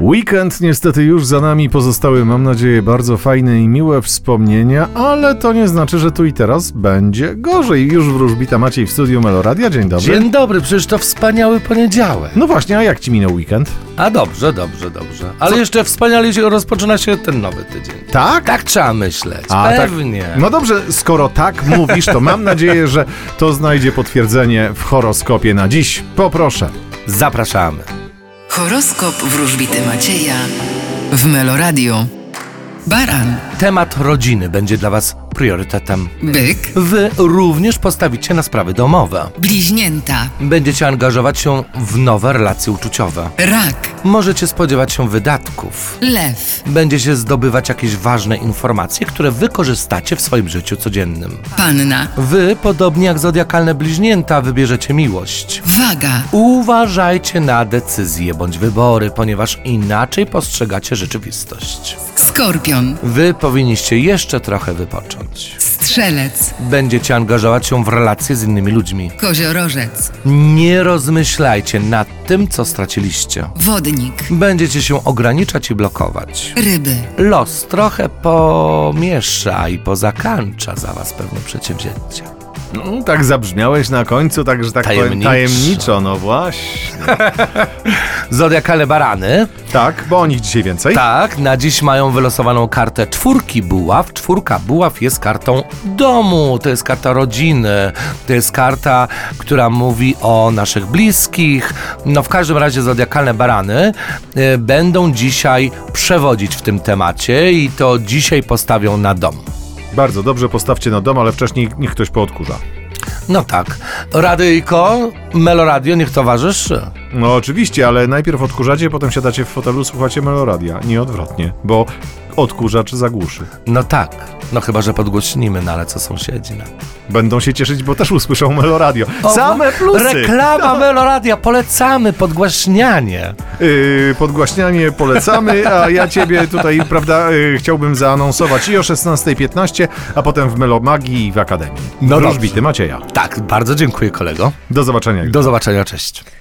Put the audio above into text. Weekend niestety już za nami pozostały, mam nadzieję, bardzo fajne i miłe wspomnienia, ale to nie znaczy, że tu i teraz będzie gorzej. Już wróżbita Maciej w studiu Meloradia. Dzień dobry. Dzień dobry, przecież to wspaniały poniedziałek. No właśnie, a jak ci minął weekend? A dobrze, dobrze, dobrze. Ale jeszcze wspaniale się rozpoczyna się ten nowy tydzień. Tak? Tak trzeba myśleć. A, tak. Pewnie. No dobrze, skoro tak mówisz, to mam nadzieję, że to znajdzie potwierdzenie w horoskopie na dziś. Poproszę. Zapraszamy. Horoskop wróżbity Macieja w Meloradio. Baran, Temat rodziny będzie dla Was priorytetem. byk, Wy również postawicie na sprawy domowe. bliźnięta, Będziecie angażować się w nowe relacje uczuciowe. rak, Możecie spodziewać się wydatków. lew, Będziecie zdobywać jakieś ważne informacje, które wykorzystacie w swoim życiu codziennym. panna, Wy, podobnie jak zodiakalne bliźnięta, wybierzecie miłość. waga, Uważajcie na decyzje bądź wybory, ponieważ inaczej postrzegacie rzeczywistość. skorpion, Wy powinniście jeszcze trochę wypocząć. strzelec, Będziecie angażować się w relacje z innymi ludźmi. koziorożec, Nie rozmyślajcie nad tym, co straciliście. wodnik, Będziecie się ograniczać i blokować. ryby, Los trochę pomiesza i pozakańcza za was pewne przedsięwzięcia. No, tak zabrzmiałeś na końcu, także tak powiem Tajemniczo. tajemniczo, no właśnie. Zodiakale barany Tak, bo o nich dzisiaj więcej. Tak, na dziś mają wylosowaną kartę czwórki buław. Czwórka buław jest kartą domu, to jest karta rodziny, to jest karta, która mówi o naszych bliskich. No w każdym razie zodiakalne barany y, będą dzisiaj przewodzić w tym temacie i to dzisiaj postawią na dom. Bardzo dobrze, postawcie na dom, ale wcześniej niech ktoś poodkurza. No tak, Radyjko, Meloradio, niech towarzyszy. No oczywiście, ale najpierw odkurzacie, potem siadacie w fotelu, słuchacie meloradia. Nie odwrotnie, bo odkurzacz zagłuszy. No tak, no chyba, że podgłośnimy, no ale co sąsiedzi na to? Będą się cieszyć, bo też usłyszą meloradio. O, Same plusy! Reklama Meloradia, polecamy podgłaśnianie. Yy, podgłaśnianie polecamy, a ja ciebie tutaj, prawda, yy, chciałbym zaanonsować i o 16.15, a potem w Melomagii i w Akademii. No Wróżbity Macieja. Tak, bardzo dziękuję kolego. Do zobaczenia. Do zobaczenia, cześć.